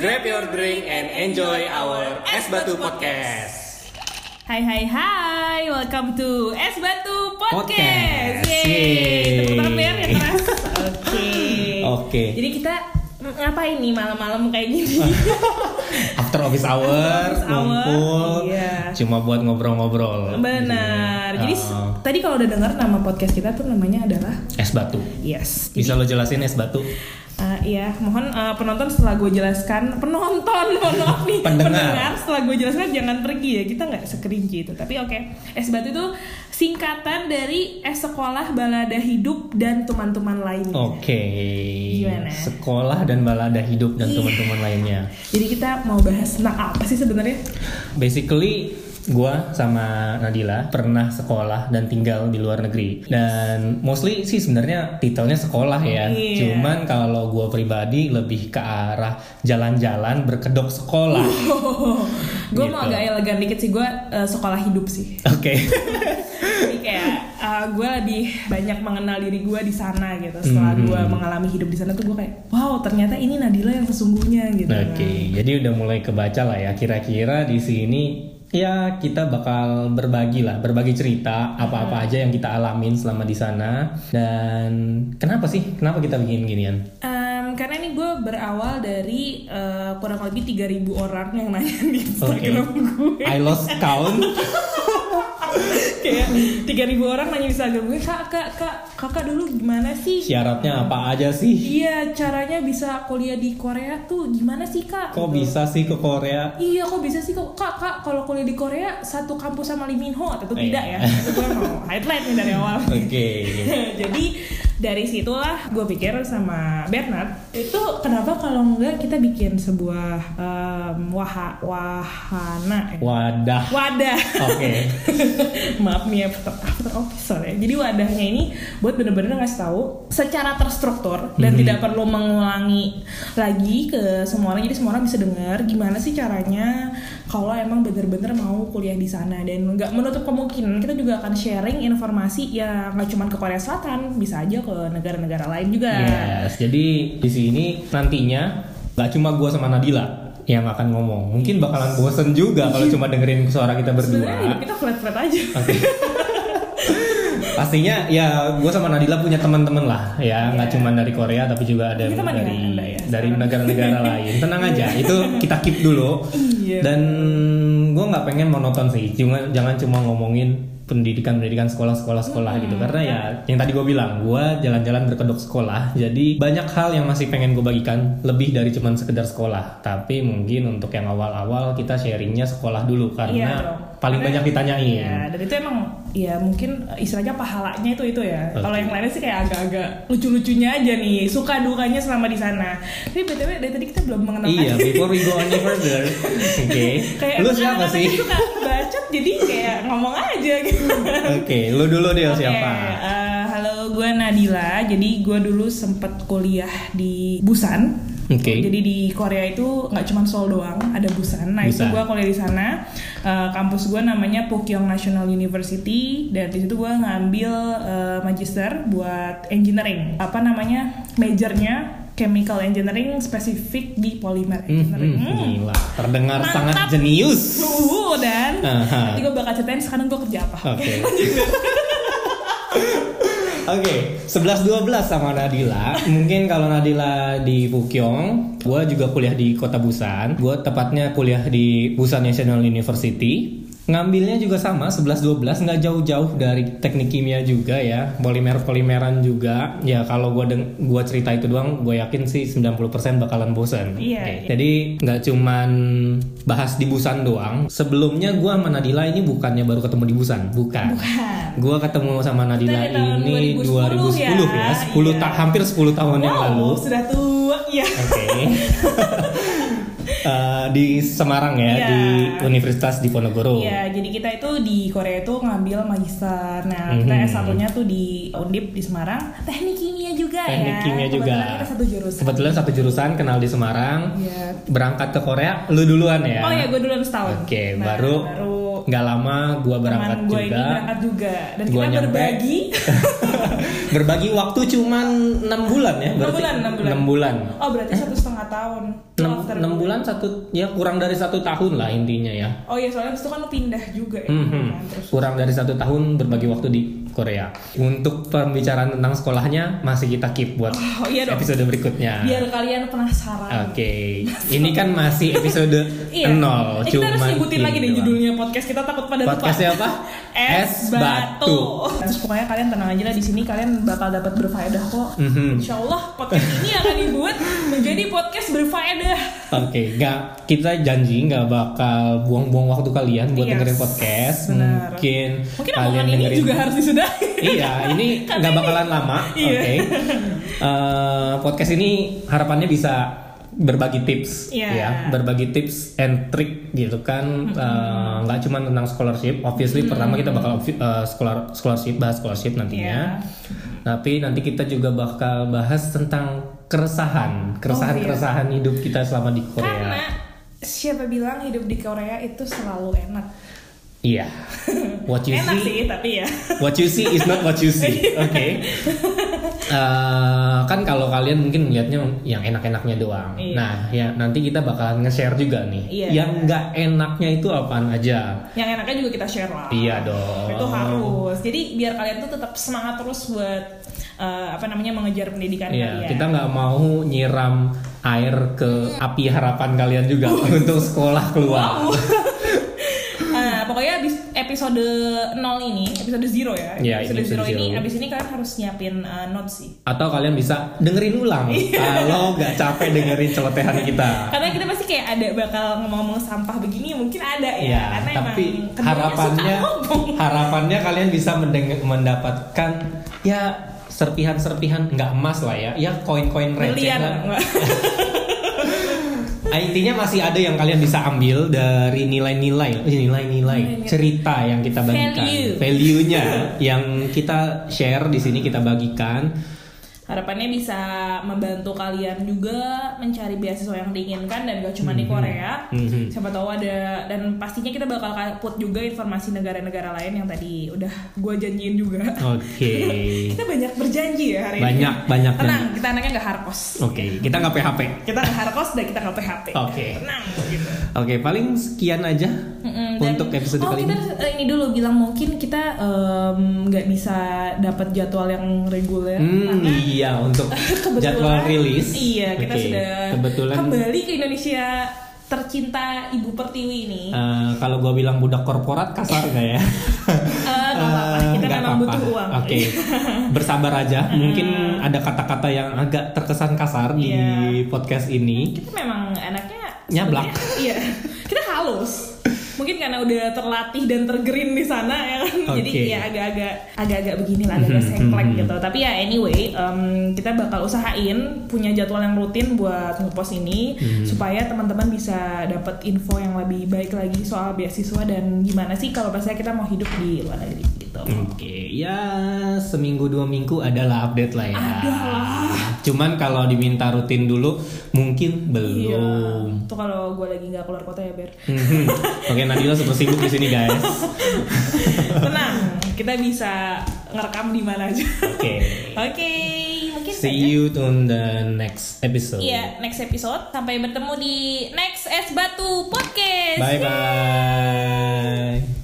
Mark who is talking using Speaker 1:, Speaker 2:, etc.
Speaker 1: Grab your drink and enjoy our Es Batu Podcast.
Speaker 2: Hai hai hai, welcome to Es Batu
Speaker 1: Podcast.
Speaker 2: Podcast.
Speaker 1: Yeay.
Speaker 2: Yeay. Tepuk tangan biar yang keras. Oke.
Speaker 1: Oke.
Speaker 2: Jadi kita mm, ngapain nih malam-malam kayak gini?
Speaker 1: After office hour,
Speaker 2: After office hour,
Speaker 1: ngumpul,
Speaker 2: iya.
Speaker 1: cuma buat ngobrol-ngobrol.
Speaker 2: Benar. Jadi s-
Speaker 1: Oh.
Speaker 2: tadi kalau udah dengar nama podcast kita tuh namanya adalah
Speaker 1: Es Batu.
Speaker 2: Yes. Jadi,
Speaker 1: Bisa lo jelasin es batu?
Speaker 2: eh, iya, mohon eh, penonton setelah gue jelaskan, penonton, mohon maaf nih,
Speaker 1: Pendengar.
Speaker 2: setelah gue jelaskan jangan pergi ya, kita nggak sekerinci itu. Tapi oke, es batu itu singkatan dari es sekolah balada hidup dan teman-teman lainnya.
Speaker 1: Oke.
Speaker 2: Gimana?
Speaker 1: Sekolah dan balada hidup dan teman-teman lainnya.
Speaker 2: Jadi kita mau bahas tentang apa sih sebenarnya?
Speaker 1: Basically gua sama Nadila pernah sekolah dan tinggal di luar negeri dan mostly sih sebenarnya titelnya sekolah ya
Speaker 2: Iya.
Speaker 1: cuman kalau gua pribadi lebih ke arah jalan-jalan berkedok sekolah
Speaker 2: Gue
Speaker 1: Gitu.
Speaker 2: mau agak elegan dikit sih, gue sekolah hidup sih.
Speaker 1: oke
Speaker 2: Jadi kayak gue lebih banyak mengenal diri gue di sana gitu. Setelah gue
Speaker 1: Hmm.
Speaker 2: mengalami hidup di sana tuh gue kayak, wow ternyata ini Nadila yang sesungguhnya gitu.
Speaker 1: Oke, jadi udah mulai kebaca lah ya. Kira-kira di sini ya kita bakal berbagi lah, berbagi cerita
Speaker 2: Hmm.
Speaker 1: apa-apa aja yang kita alamin selama di sana. Dan kenapa sih? Kenapa kita bikin ginian?
Speaker 2: Em, karena ini gue berawal dari eh, kurang lebih 3000 orang yang nanya di Instagram gue.
Speaker 1: I lost count.
Speaker 2: kayak 3000 orang nanya di Instagram gue, kak, kak, kak, kakak dulu gimana sih?
Speaker 1: Syaratnya apa aja sih?
Speaker 2: Iya, caranya bisa kuliah di Korea tuh gimana sih kak?
Speaker 1: Kok
Speaker 2: Gitu.
Speaker 1: bisa sih ke Korea?
Speaker 2: Iya, kok bisa sih kok kak kak kalau kuliah di Korea satu kampus sama Lee Min Ho atau
Speaker 1: Eh.
Speaker 2: tidak ya? Itu gue mau highlight nih dari awal.
Speaker 1: Oke.
Speaker 2: Jadi dari situlah gue pikir sama Bernard itu kenapa kalau enggak kita bikin sebuah em, waha- wahana eh,
Speaker 1: Wadah.
Speaker 2: wadah.
Speaker 1: Oke.
Speaker 2: Maaf nih ya, after, after office soalnya. Jadi wadahnya ini buat bener-bener ngasih tahu secara terstruktur dan tidak perlu mengulangi lagi ke semua orang. Jadi semua orang bisa dengar gimana sih caranya kalau emang bener-bener mau kuliah di sana dan nggak menutup kemungkinan kita juga akan sharing informasi ya nggak cuma ke Korea Selatan, bisa aja ke negara-negara lain juga.
Speaker 1: Yes. Jadi di sini nantinya nggak cuma gua sama Nadila yang akan ngomong. Mungkin bakalan bosen juga kalau cuma dengerin suara kita
Speaker 2: Sebenarnya
Speaker 1: berdua.
Speaker 2: hidup kita flat-flat aja.
Speaker 1: Oke. Pastinya ya gue sama Nadila punya teman-teman lah ya nggak cuma dari Korea tapi juga ada
Speaker 2: Iya. Kita teman
Speaker 1: dari
Speaker 2: dengan Anda ya,
Speaker 1: dari
Speaker 2: sekarang.
Speaker 1: negara-negara lain tenang aja itu kita keep dulu
Speaker 2: Iya.
Speaker 1: dan gue nggak pengen monoton sih cuma jangan cuma ngomongin pendidikan pendidikan sekolah sekolah sekolah
Speaker 2: Hmm.
Speaker 1: gitu karena ya yang tadi gue bilang gue jalan-jalan berkedok sekolah jadi banyak hal yang masih pengen gue bagikan lebih dari cuman sekedar sekolah tapi mungkin untuk yang awal-awal kita sharingnya sekolah dulu
Speaker 2: Iya
Speaker 1: karena
Speaker 2: dong.
Speaker 1: paling
Speaker 2: Karena-
Speaker 1: banyak ditanyain
Speaker 2: Iya, dan itu emang ya mungkin eh, istilahnya pahalanya itu itu ya.
Speaker 1: Oke.
Speaker 2: Kalau yang lainnya sih kayak agak-agak lucu-lucunya aja nih, suka dukanya selama di sana. Tapi btw dari tadi kita belum mengenal
Speaker 1: Iya, before we go any further. Oke.
Speaker 2: kayak
Speaker 1: Lu
Speaker 2: emang
Speaker 1: siapa
Speaker 2: anak-anak
Speaker 1: sih?
Speaker 2: itu suka bacot jadi kayak ngomong aja gitu.
Speaker 1: Oke, lu dulu deh Iya,
Speaker 2: Oke,
Speaker 1: siapa?
Speaker 2: eh, halo, gue Nadila. Jadi gue dulu sempet kuliah di Busan.
Speaker 1: Oke.
Speaker 2: Jadi di Korea itu nggak cuma Seoul doang, ada Busan. Nah itu
Speaker 1: Busan.
Speaker 2: gue kuliah di sana. Eh, kampus gue namanya Pokyong National University. Dan di situ gue ngambil eh, magister buat engineering. Apa namanya? Majornya chemical engineering spesifik di polymer
Speaker 1: Hmm,
Speaker 2: engineering.
Speaker 1: hmm,
Speaker 2: Hmm.
Speaker 1: gila. Terdengar
Speaker 2: Mantap.
Speaker 1: sangat jenius.
Speaker 2: Uh, dan
Speaker 1: Aha.
Speaker 2: nanti gue bakal ceritain sekarang gue kerja apa.
Speaker 1: Oke. Oke, 11-12 sama Nadila. Mungkin kalau Nadila di Pukyong, gue juga kuliah di kota Busan. Gue tepatnya kuliah di Busan National University. Ngambilnya juga sama, 11-12, nggak jauh-jauh dari teknik kimia juga ya. Polimer-polimeran juga. Ya kalau gue deng- gua cerita itu doang, gue yakin sih 90% bakalan bosan.
Speaker 2: Iya,
Speaker 1: Oke.
Speaker 2: iya.
Speaker 1: Jadi nggak cuman bahas di Busan doang. Sebelumnya gue sama Nadila ini bukannya baru ketemu di Busan, bukan.
Speaker 2: Bukan.
Speaker 1: Gue ketemu sama Nadila
Speaker 2: Kita di tahun
Speaker 1: ini 2010,
Speaker 2: 2010
Speaker 1: ya,
Speaker 2: ya.
Speaker 1: 10 ta-
Speaker 2: Iya.
Speaker 1: hampir 10 tahun yang
Speaker 2: Wow,
Speaker 1: lalu. Oke.
Speaker 2: sudah tua ya.
Speaker 1: Eh, di Semarang ya
Speaker 2: Iya.
Speaker 1: di Universitas Diponegoro.
Speaker 2: Iya, jadi kita itu tuh di Korea itu ngambil magister. Nah, kita
Speaker 1: Mhm.
Speaker 2: S1-nya tuh di Undip di Semarang, teknik kimia juga
Speaker 1: Teknik
Speaker 2: ya.
Speaker 1: kimia juga.
Speaker 2: Kebetulan kita satu jurusan.
Speaker 1: Kebetulan satu jurusan kenal di Semarang.
Speaker 2: Iya.
Speaker 1: Berangkat ke Korea, lu duluan ya.
Speaker 2: Oh ya, gue duluan setahun.
Speaker 1: Oke,
Speaker 2: Nah,
Speaker 1: baru
Speaker 2: baru
Speaker 1: nggak lama gua berangkat
Speaker 2: teman gue ini
Speaker 1: juga.
Speaker 2: berangkat juga dan
Speaker 1: Gua
Speaker 2: kita
Speaker 1: nyampe.
Speaker 2: berbagi
Speaker 1: Berbagi waktu cuman 6 bulan ya,
Speaker 2: Enam
Speaker 1: berarti
Speaker 2: bulan, enam bulan.
Speaker 1: 6 bulan.
Speaker 2: oh berarti satu setengah tahun
Speaker 1: 6,
Speaker 2: After-
Speaker 1: bulan satu ya kurang dari satu tahun lah intinya ya.
Speaker 2: oh iya soalnya abis itu kan lo pindah juga ya
Speaker 1: Mhm.
Speaker 2: Nah, terus
Speaker 1: Kurang dari satu tahun berbagi waktu di Korea. Untuk pembicaraan tentang sekolahnya masih kita keep buat
Speaker 2: oh iya dong
Speaker 1: episode Ah. berikutnya.
Speaker 2: biar kalian penasaran
Speaker 1: Oke, ini kan masih episode
Speaker 2: Iya.
Speaker 1: nol,
Speaker 2: Eh, kita harus
Speaker 1: cuman
Speaker 2: nyebutin lagi deh
Speaker 1: ini doang.
Speaker 2: judulnya podcast kita takut pada lupa.
Speaker 1: Podcastnya apa?
Speaker 2: Es batu. Terus pokoknya kalian tenang aja lah di sini kalian bakal dapat berfaedah kok.
Speaker 1: Mhm.
Speaker 2: Insya Allah podcast ini akan dibuat menjadi podcast berfaedah.
Speaker 1: Oke, nggak kita janji nggak bakal buang-buang waktu kalian buat
Speaker 2: Yes,
Speaker 1: dengerin podcast.
Speaker 2: benar.
Speaker 1: Mungkin,
Speaker 2: Mungkin
Speaker 1: kalian
Speaker 2: omongan ini
Speaker 1: dengerin.
Speaker 2: juga harus disudahi.
Speaker 1: iya, ini nggak bakalan lama.
Speaker 2: Iya.
Speaker 1: Oke, Eh, podcast ini harapannya bisa berbagi tips,
Speaker 2: Iya.
Speaker 1: ya, berbagi tips and trick gitu kan. Eh, Nggak cuma tentang scholarship. Obviously, pertama kita bakal eh, scholar- scholarship bahas scholarship
Speaker 2: Iya.
Speaker 1: nantinya. Tapi nanti kita juga bakal bahas tentang keresahan, keresahan-keresahan hidup kita selama di Korea.
Speaker 2: Oh, iya. Karena siapa bilang hidup di Korea itu selalu enak.
Speaker 1: Iya. What you see,
Speaker 2: enak sih tapi ya.
Speaker 1: what you see is not what you see. Oke. Eh, kan kalau kalian mungkin melihatnya yang enak-enaknya doang.
Speaker 2: Iya.
Speaker 1: Nah, ya nanti kita bakalan nge-share juga nih.
Speaker 2: Iya.
Speaker 1: Yang nggak enaknya itu apaan aja?
Speaker 2: Yang enaknya juga kita share lah.
Speaker 1: Iya dong.
Speaker 2: Itu harus. Jadi biar kalian tuh tetap semangat terus buat eh, apa namanya mengejar pendidikan
Speaker 1: Iya,
Speaker 2: kalian.
Speaker 1: kita nggak mau nyiram air ke api harapan kalian juga untuk sekolah keluar.
Speaker 2: Wow. Eh, pokoknya abis episode 0 ini, episode 0 ya.
Speaker 1: Iya,
Speaker 2: episode
Speaker 1: episode
Speaker 2: 0 ini
Speaker 1: zero.
Speaker 2: abis ini kalian harus nyiapin eh, notes sih.
Speaker 1: Atau kalian bisa dengerin ulang
Speaker 2: Iya.
Speaker 1: kalau nggak capek dengerin celotehan kita.
Speaker 2: Karena kita pasti kayak ada bakal ngomong-ngomong sampah begini mungkin ada ya.
Speaker 1: Ya,
Speaker 2: Karena
Speaker 1: tapi
Speaker 2: emang keduanya
Speaker 1: harapannya
Speaker 2: suka ngomong.
Speaker 1: harapannya kalian bisa mendeng- mendapatkan ya serpihan-serpihan nggak emas lah ya, ya koin-koin receh kan?
Speaker 2: Berlian
Speaker 1: lah.
Speaker 2: enggak?
Speaker 1: Ah, Intinya masih ada yang kalian bisa ambil dari nilai-nilai, eh, nilai-nilai cerita yang kita bagikan,
Speaker 2: Value.
Speaker 1: value-nya yang kita share di sini kita bagikan.
Speaker 2: Harapannya bisa membantu kalian juga mencari beasiswa yang diinginkan dan gak cuma di Korea.
Speaker 1: Mhm.
Speaker 2: Siapa tahu ada dan pastinya kita bakal put juga informasi negara-negara lain yang tadi udah gua janjiin juga.
Speaker 1: Oke.
Speaker 2: Kita banyak berjanji ya hari ini.
Speaker 1: Banyak banyak
Speaker 2: Tenang,
Speaker 1: banyak.
Speaker 2: kita anaknya gak harkos.
Speaker 1: Oke, kita nggak PHP.
Speaker 2: Kita gak harkos dan kita gak PHP.
Speaker 1: Oke.
Speaker 2: Tenang gitu.
Speaker 1: Oke, paling sekian aja
Speaker 2: Mm-mm, dan-
Speaker 1: Mhm, untuk episode
Speaker 2: oh,
Speaker 1: kali
Speaker 2: kita
Speaker 1: ini.
Speaker 2: harus, eh, ini dulu bilang mungkin kita em, nggak bisa dapat jadwal yang reguler
Speaker 1: Hmm,
Speaker 2: karena
Speaker 1: iya untuk jadwal rilis.
Speaker 2: Iya, kita
Speaker 1: Oke,
Speaker 2: sudah
Speaker 1: kebetulan
Speaker 2: kembali ke Indonesia tercinta Ibu Pertiwi ini.
Speaker 1: eh, kalau gua bilang budak korporat kasar nggak ya?
Speaker 2: Eh, nggak apa-apa,
Speaker 1: Eh,
Speaker 2: kita
Speaker 1: nggak
Speaker 2: memang
Speaker 1: apa-apa.
Speaker 2: butuh uang. Hmm.
Speaker 1: Oke, bersabar aja. Mungkin ada kata-kata yang agak terkesan kasar di
Speaker 2: Iya.
Speaker 1: podcast ini.
Speaker 2: Kita memang anaknya
Speaker 1: Nyablak.
Speaker 2: sebenarnya- Iya. Kita halus. Mungkin karena udah terlatih dan tergerin di sana ya kan. Jadi
Speaker 1: Oke. Hmm,
Speaker 2: ya agak-agak agak-agak begini lah, agak sengklek gitu. Tapi ya anyway, em, kita bakal usahain punya jadwal yang rutin buat ngepost ini
Speaker 1: Hmm.
Speaker 2: supaya teman-teman bisa dapat info yang lebih baik lagi soal beasiswa dan gimana sih kalau misalnya kita mau hidup di luar negeri gitu.
Speaker 1: Oke, ya seminggu dua minggu adalah update lah ya.
Speaker 2: Adalah.
Speaker 1: Cuman kalau diminta rutin dulu
Speaker 2: Iya.
Speaker 1: mungkin belum.
Speaker 2: Itu kalau gue lagi nggak keluar kota ya Ber.
Speaker 1: Mhm. Oke, Nadila super sibuk di sini guys.
Speaker 2: Tenang, kita bisa ngerekam di mana aja.
Speaker 1: Oke.
Speaker 2: Oke, mungkin
Speaker 1: See
Speaker 2: saja.
Speaker 1: you on the next episode.
Speaker 2: Iya, next episode. Sampai bertemu di next Es Batu Podcast.
Speaker 1: Bye bye.